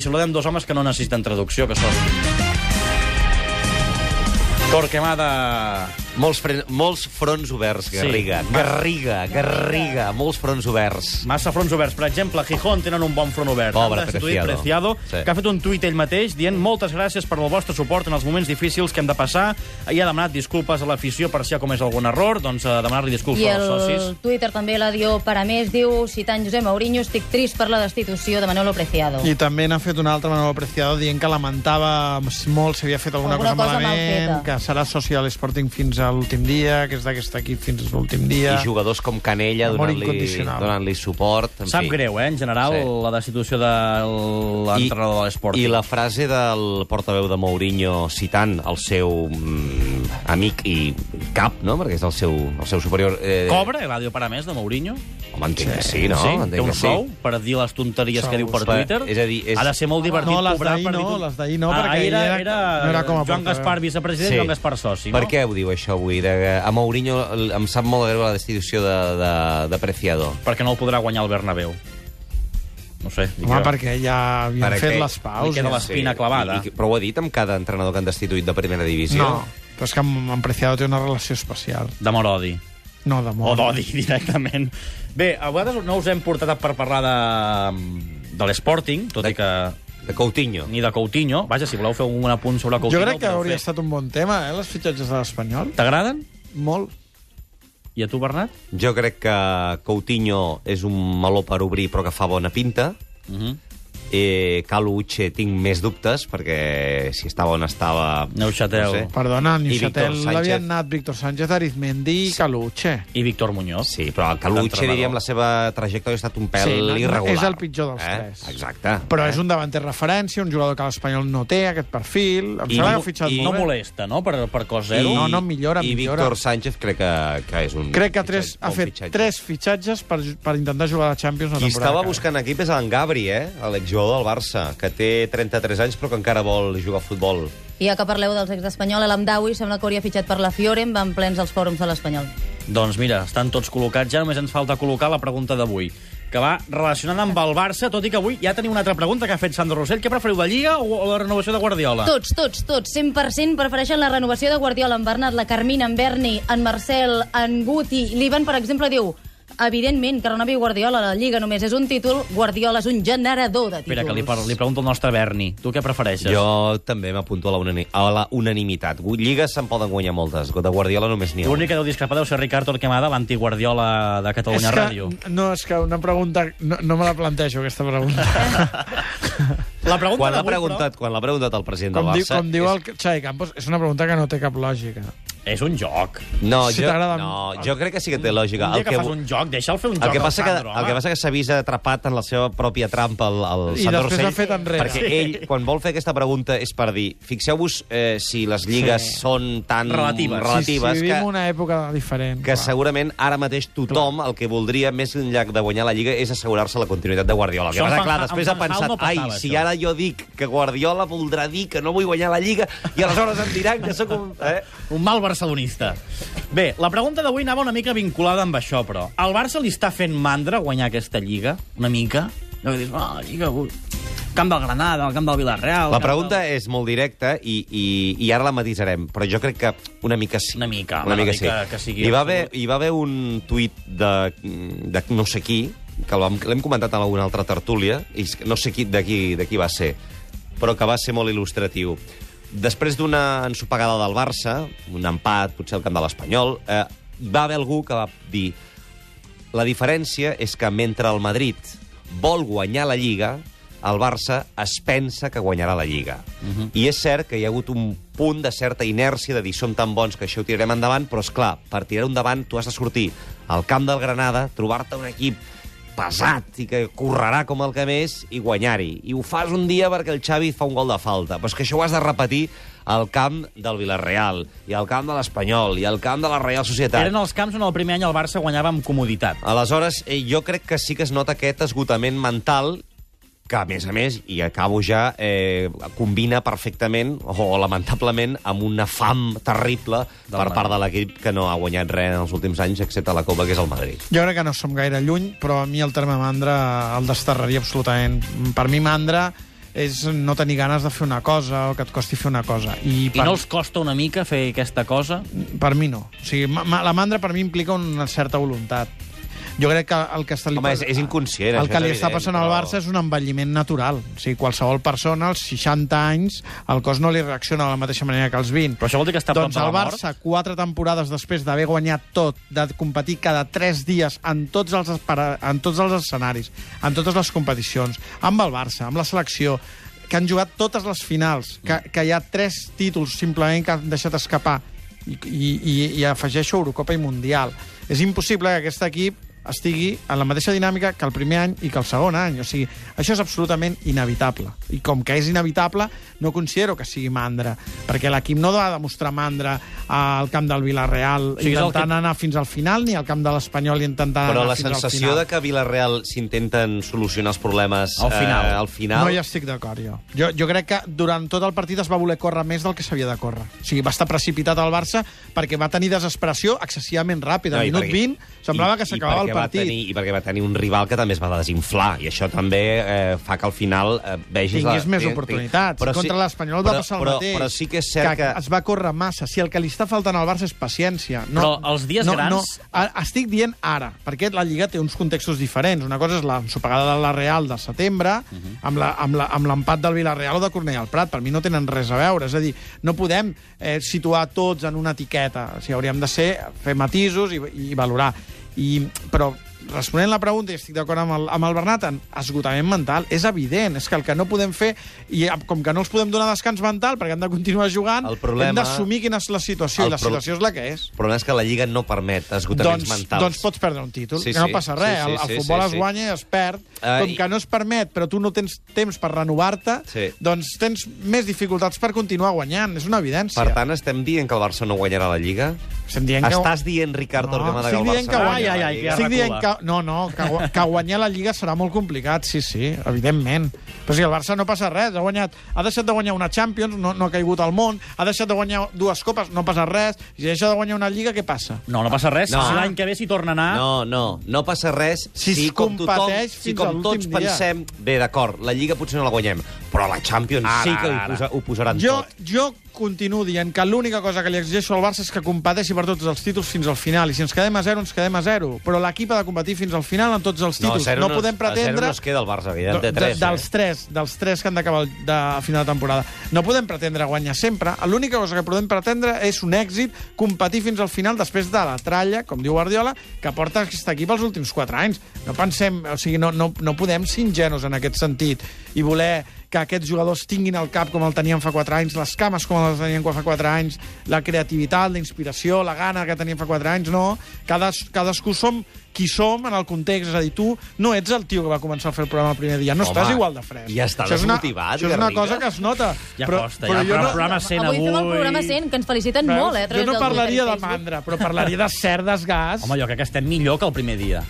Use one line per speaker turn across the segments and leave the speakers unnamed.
Saludem dos homes que no necessiten traducció, que són... Torquemada...
Molts, fre molts fronts oberts, Garriga.
Sí.
Sí. Garriga, Garriga, molts fronts oberts.
Massa fronts oberts. Per exemple, a Gijón tenen un bon front obert.
Pobre
Han destituït
Preciado.
Preciado
Sí.
que ha fet un tuit ell mateix dient moltes gràcies per el vostre suport en els moments difícils que hem de passar. I ha demanat disculpes a l'afició per si ha comès algun error, doncs eh, demanar-li disculpes
I el
als socis.
Twitter també l'Adió Paramés diu citant Josep Mourinho, estic trist per la destitució de Manolo Preciado.
I també n'ha fet una altra Manolo Preciado dient que lamentava molt si havia fet alguna,
Alguna cosa
cosa,
mal
malament,
feta.
que serà soci de l'Sporting fins a l'últim dia, que és d'aquest equip fins a l'últim dia.
I jugadors com Canella
Amor
donant-li
incondicional.
donant suport. En
Sap
fi.
greu, eh, en general,
Sí.
la destitució de l'entrenador de l'esport.
I la frase del portaveu de Mourinho citant el seu mm, amic i cap, no? Perquè és el seu, el seu superior... Eh,
Cobra l'Adio Paramés de Mourinho?
Home, entenc que sí, no?
sí?
Entenc
Té un
que sí.
sou per dir les tonteries que
Sou, Ah,
diu per
per-
Twitter?
és a dir, és-
Ha de ser molt divertit
No, les
cobrar
d'ahir
per dir...
no,
tot-
les d'ahir no,
Ah,
perquè
ahir era, era,
ahir era- no era com a
Joan
portaveu.
Gaspar, vicepresident, Joan Gaspar, soci.
Per
no?
què ho diu això avui? De, que a Mourinho l- em sap molt de greu la destitució de, de, de Preciado.
Perquè no el podrà guanyar el Bernabéu. No sé. dic
Home,
jo.
perquè ja havien
Perquè
fet les
li
paus.
queda
ja.
les- Espina clavada.
I, i, però ho ha dit amb cada entrenador que han destituït de primera divisió?
No, però és que amb, amb Preciado té una relació especial.
D'amor odi.
No, de
O
Oh,
mort.
d'odi, directament. Bé, a vegades no us hem portat per parlar de, de l'Sporting, tot i que
De Coutinho.
ni de Coutinho. Vaja, si voleu fer un apunt sobre
Jo
Coutinho...
crec que
ho podeu
hauria
fer.
estat un bon tema, eh, les fitxatges de l'Espanyol.
T'agraden?
Molt.
I a tu, Bernat?
Jo crec que Coutinho és un meló per obrir però que fa bona pinta.
Uh -huh.
Eh, Calo Uche tinc més dubtes perquè si estava on estava...
Neuchâtel.
Perdona,
I Víctor
Neuchâtel
Sánchez.
l'havien anat Víctor Sánchez, Arizmendi i Caluche.
I Víctor Muñoz.
Sí, però el Calo Uche,
L'entrenador.
diríem, la seva trajectòria ha estat un pèl
Sí, no, no,
irregular.
és el pitjor dels
eh?
tres.
Exacte.
Però és un davanter referència, un jugador que l'Espanyol no té, aquest perfil. Em
I
sembla que
no-
ha fitxat
i
No
molt bé.
molesta, no?, per, per cos
I-
zero.
No, no, millora,
I
millora.
Víctor Sánchez crec que, que és un...
Mm. Crec que tres,
fitxatge,
ha
bon
fet
fitxatge.
tres fitxatges per, per intentar jugar a la Champions la
Qui
temporada
estava
que ve.
buscant equip és en Gabri, eh? l'exjugador del Barça, que té 33 anys però que encara vol jugar a futbol.
I ja que parleu dels ex d'Espanyol, l'Amdawi sembla que hauria fitxat per la Fiorent, van plens els fòrums de l'Espanyol.
Doncs mira, estan tots col·locats, ja només ens falta col·locar la pregunta d'avui, que va relacionada amb el Barça, tot i que avui ja teniu una altra pregunta que ha fet Sandro Rossell. Què preferiu, la Lliga o o la renovació de Guardiola?
Tots, tots, tots, 100% prefereixen la renovació de Guardiola, en Bernat, la Carmina, en Berni, en Marcel, en Guti. L'Ivan, per exemple, diu evidentment que renovi Guardiola, la Lliga només és un títol, Guardiola és un generador de títols.
Espera, que li, par- li pregunto al nostre Berni. Tu què prefereixes?
Jo també m'apunto a la, unani a la unanimitat. Gu- Lligues se'n poden guanyar moltes. De Guardiola només n'hi ha una.
L'únic que deu discrepar deu ser Ricard Torquemada, l'antiguardiola de
És
Catalunya
que,
Ràdio.
No, és que una pregunta... No, no me la plantejo, aquesta pregunta.
La pregunta
Quan l'ha
d'avui,
preguntat, quan l'ha preguntat el president
com,
del
diu,
Barça...
com diu
és-
el Xavi Campos, és una pregunta que no té cap lògica.
Però, és un joc.
No,
Si
jo,
t'agrada-
no, jo crec que sí que té lògica.
Un dia que, fas
vo-
un joc, deixa'l fer un joc.
el que, passa que,
Sandro,
el que
home.
passa que s'ha vist atrapat en la seva pròpia trampa el, el
eh? I
Sandro
després
Rossell,
ha fet enrere.
perquè
Sí.
ell, quan vol fer aquesta pregunta, és per dir, fixeu-vos eh, si les lligues
Sí.
són tan
Relatives.
relatives
si, si
que,
vivim una època diferent.
que
clar.
segurament ara mateix tothom el que voldria més enllà de guanyar la Lliga és assegurar-se la continuïtat de Guardiola. El
Això
Que
en
passa,
Van
clar,
Gaal-
després
en
ha
Van Gaal
pensat,
no
ai,
passava,
si
això."
ara jo dic que Guardiola voldrà dir que no vull guanyar la Lliga i aleshores em diran que sóc un... Eh?
Un mal barcelonista. Bé, la pregunta d'avui anava una mica vinculada amb això, però. Al Barça li està fent mandra guanyar aquesta Lliga? Una mica? No que dius, ah, Lliga... ui, Camp del Granada, el camp del Villarreal...
La
camp
pregunta
del...
és molt directa i, i, i ara la matisarem, però jo crec que una mica sí.
Una mica, una mica que sigui
hi, va haver,
absolut.
hi va haver un tuit de, de no sé qui, que el vam- l'hem comentat en alguna altra tertúlia, i és que no sé qui, de, qui, de qui va ser, però que va ser molt il·lustratiu. Després d'una ensopegada del Barça, un empat, potser al camp de l'Espanyol, eh, hi va haver algú que va dir la diferència és que mentre el Madrid vol guanyar la Lliga, el Barça es pensa que guanyarà la Lliga. I és cert que hi ha hagut un punt de certa inèrcia de dir som tan bons que això ho tirarem endavant, però és clar, per tirar-ho endavant tu has de sortir al camp del Granada, trobar-te un equip pesat i que correrà com el que més i guanyar-hi. I ho fas un dia perquè el Xavi et fa un gol de falta. Però és que això ho has de repetir al camp del Villarreal, i al camp de l'Espanyol, i al camp de la Real Societat.
Eren els camps on el primer any el Barça guanyava amb comoditat.
Aleshores, eh, jo crec que sí que es nota aquest esgotament mental que, a més a més, i acabo ja, eh, combina perfectament, o lamentablement, amb una fam terrible
Del
per
Madrid.
part de l'equip que no ha guanyat res en els últims anys, excepte la Copa, que és el Madrid.
Jo crec que no som gaire lluny, però a mi el terme mandra el desterraria absolutament. Per mi mandra és no tenir ganes de fer una cosa o que et costi fer una cosa. I,
I no els costa una mica fer aquesta cosa?
per mi no. O sigui, ma, ma, la mandra per mi implica una certa voluntat. Jo crec que el que està... li
Home,
pas-
és- és inconscient,
El
això
que
és
li està
evident,
passant al
però-
Barça és un envelliment natural. O sigui, qualsevol persona, als 60 anys, el cos no li reacciona de la mateixa manera que als 20.
Però això vol dir que està a prop
doncs
de la
el
mort?
Barça, quatre temporades després d'haver guanyat tot, de competir cada tres dies en tots, els, espera- en tots els escenaris, en totes les competicions, amb el Barça, amb la selecció, que han jugat totes les finals, que,
Mm.
que hi ha tres títols simplement que han deixat escapar, i, i, i- i afegeixo Eurocopa i Mundial. És impossible que aquest equip estigui en la mateixa dinàmica que el primer any i que el segon any. O sigui, això és absolutament inevitable. I com que és inevitable, no considero que sigui mandra, perquè l'equip no ha de mostrar mandra al camp del Villarreal o
sigui,
sigui,
és el
intentant
que-
anar fins al final, ni al camp de l'Espanyol intentant
Però
anar
la
fins al final.
sensació de que a Vilareal s'intenten solucionar els problemes
Al final.
eh, al final
No hi estic d'acord, jo. jo. Jo crec que durant tot el partit es va voler córrer més del que s'havia de córrer. O sigui, va estar precipitat al Barça perquè va tenir desesperació excessivament ràpida.
No,
Al
i
minut
perquè-
20 semblava
i-
que
i
s'acabava
perquè
el
va
partit.
Tenir, I perquè va tenir un rival que també es va desinflar, i això també eh, fa que al final eh, vegis...
tingués
la...
més
ting- ting-
oportunitats.
Però
Contra l'Espanyol va
però-
passar el
però,
mateix.
Però sí que és cert que...
que... Es va córrer massa. Si el que li està faltant al Barça és paciència. No,
Però els dies
no,
grans-
No, A- estic dient ara, perquè la Lliga té uns contextos diferents. Una cosa és l'ensopegada de la Real de setembre, uh
Mhm.
-huh. amb la- amb la- amb l'empat del Villarreal o de Cornellà al Prat. Per mi no tenen res a veure. És a dir, no podem eh, situar tots en una etiqueta. O sigui, hauríem de ser, fer matisos i, i valorar. I, però responent la pregunta, i estic d'acord amb, el, amb el Bernat, en esgotament mental, és evident, és que el que no podem fer, i com que no els podem donar descans mental perquè hem de continuar jugant,
El problema-
hem d'assumir quina és la situació,
El
i la
pro-
situació és la que és.
El problema és que la Lliga no permet esgotaments
Doncs,
mentals.
doncs pots perdre un títol,
Sí,
sí, que no
sí.
passa
Sí,
res.
sí,
el, el
sí,
futbol
sí,
es
sí.
guanya i es perd.
Ah,
com
i-
que no es permet, però tu no tens temps per renovar-te,
Sí.
doncs tens més dificultats per continuar guanyant. És una evidència.
Per tant, estem dient que el Barça no guanyarà la Lliga?
Estem dient que...
Estàs dient, Ricard
No,
Torquemada, que
estic
el
dient
Barça
que
no
guanya.
guanyarà
Ai,
la
ai, ai,
Lliga?
que
Estic dient que,
recula.
no, no, que, gua- que guanyar la Lliga serà molt complicat, sí, sí, evidentment. Però si el Barça no passa res, ha, guanyat, ha deixat de guanyar una Champions, no, no ha caigut al món, ha deixat de guanyar dues copes, no passa res, si deixa de guanyar una Lliga, què passa?
No, no passa res.
No.
Si l'any que ve s'hi torna a anar...
No, no, no passa res
Si es
com tothom,
competeix
si
fins a
com tots
l'últim dia.
pensem, bé, d'acord, la Lliga potser no la guanyem, però la Champions
Ara,
sí que ho,
ara.
posa, ho posaran
Jo,
tot.
jo continuo dient que l'única cosa que li exigeixo al Barça és que competeixi per tots els títols fins al final. I si ens quedem a zero, ens quedem a zero. Però l'equip ha de competir fins al final en tots els títols.
zero
no podem
A zero
pretendre...
no es queda el Barça, que ja en té
de-
tres. eh?
dels tres, dels tres que han d'acabar el- de a final de temporada. No podem pretendre guanyar sempre. L'única cosa que podem pretendre és un èxit, competir fins al final després de la tralla, com diu Guardiola, que porta aquest equip els últims quatre anys. No pensem, o sigui, no, no, no podem ser ingenus en aquest sentit i voler que aquests jugadors tinguin el cap com el tenien fa 4 anys, les cames com les tenien fa 4 anys, la creativitat, la inspiració, la gana que tenien fa 4 anys, no. Cades, cadascú som qui som en el context, és a dir, tu no ets el tio que va començar a fer el programa el primer dia, no
Home,
estàs igual de fresc.
ja està
Això és una-
desmotivat,
Això és una
Garriga.
cosa que es nota.
Ja costa, ja.
jo
Però
no-
el programa cent
avui fem el
avui.
programa 100, que ens feliciten
Veus?
molt, eh? a
Jo
través
no
del
parlaria de
Twitter i Facebook.
mandra, però parlaria de cert desgast.
Home, jo crec que estem millor que el primer dia.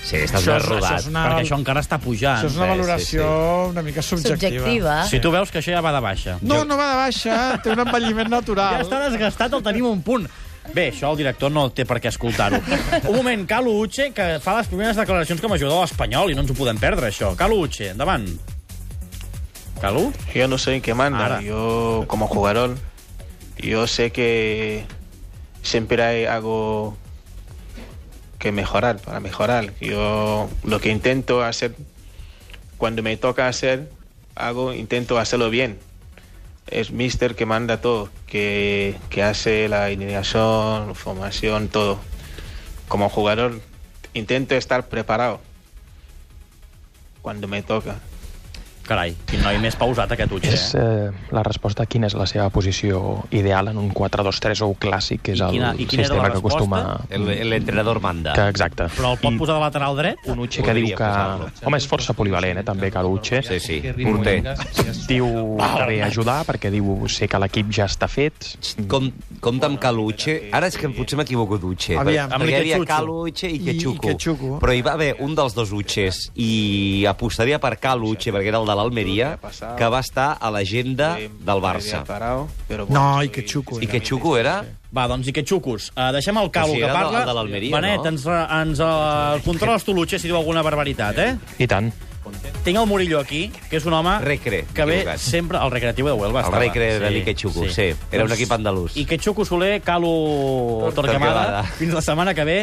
Sí, estàs
Això
més
és-
rodat.
això és una-
Perquè això encara està pujant.
Això és una
sí,
valoració una mica subjectiva.
Subjectiva.
Si tu veus que això ja va de baixa.
No, no va de baixa, té un envelliment natural.
Ja està desgastat, el tenim un punt. Bé, això el director no té per què escoltar-ho. Un moment, Calo Uche, que fa les primeres declaracions com a jugador espanyol, i no ens ho podem perdre, això. Calo Uche, endavant. Calo?
Yo no soy el que manda,
Ahora.
yo como jugador, yo sé que siempre hay algo que mejorar, para mejorar. Yo lo que intento hacer, cuando me toca hacer, hago, intento hacerlo bien. Es Mister que manda todo, que, que hace la iniciación, formación, todo. Como jugador, intento estar preparado cuando me toca.
Carai, quin noi més pausat aquest Uche,
És
eh?
eh, la resposta quina és la seva posició ideal en un 4-2-3 o clàssic, que és
I
el
quina- i quina era
sistema
la
que acostuma...
resposta?
El- el entrenador manda.
Que, exacte.
eh? Però el pot
I
posar de lateral dret?
un Uche que diu
Podria
que...
posar-lo.
Home, és força polivalent, eh, també, que l'Uche.
Sí, sí, porter.
Diu que ve a ajudar perquè diu sé que l'equip ja està fet.
Com, compta amb Caluche. Ara és que potser m'equivoco d'Uche.
Aviam.
perquè hi havia
Amb Ikechuchu.
Caluche i
I-
Quechuco.
i Quechuco.
Però hi va haver un dels dos Uches i apostaria per Caluche, perquè era el de l'Almeria, que va estar a l'agenda del Barça.
No, i que xuco. eh?
I Quechuco era...
Va, doncs i que xucos. Uh, deixem el
O
Calo
sigui,
que
era de-
parla.
de l'Almeria,
Benet,
no?
ens, ens uh, controles tu, Lutxe, si diu alguna barbaritat, eh?
I tant.
Tinc el Murillo aquí, que és un home...
Recre,
Que ve
equivocat.
sempre al recreatiu de Huelva.
Al
estava. Doncs
Recre de l'Iquechuco,
Doncs
sí. Era un equip andalús.
Iquechuco Soler, Calo Torquemada.
Torquemada.
Fins la setmana que ve.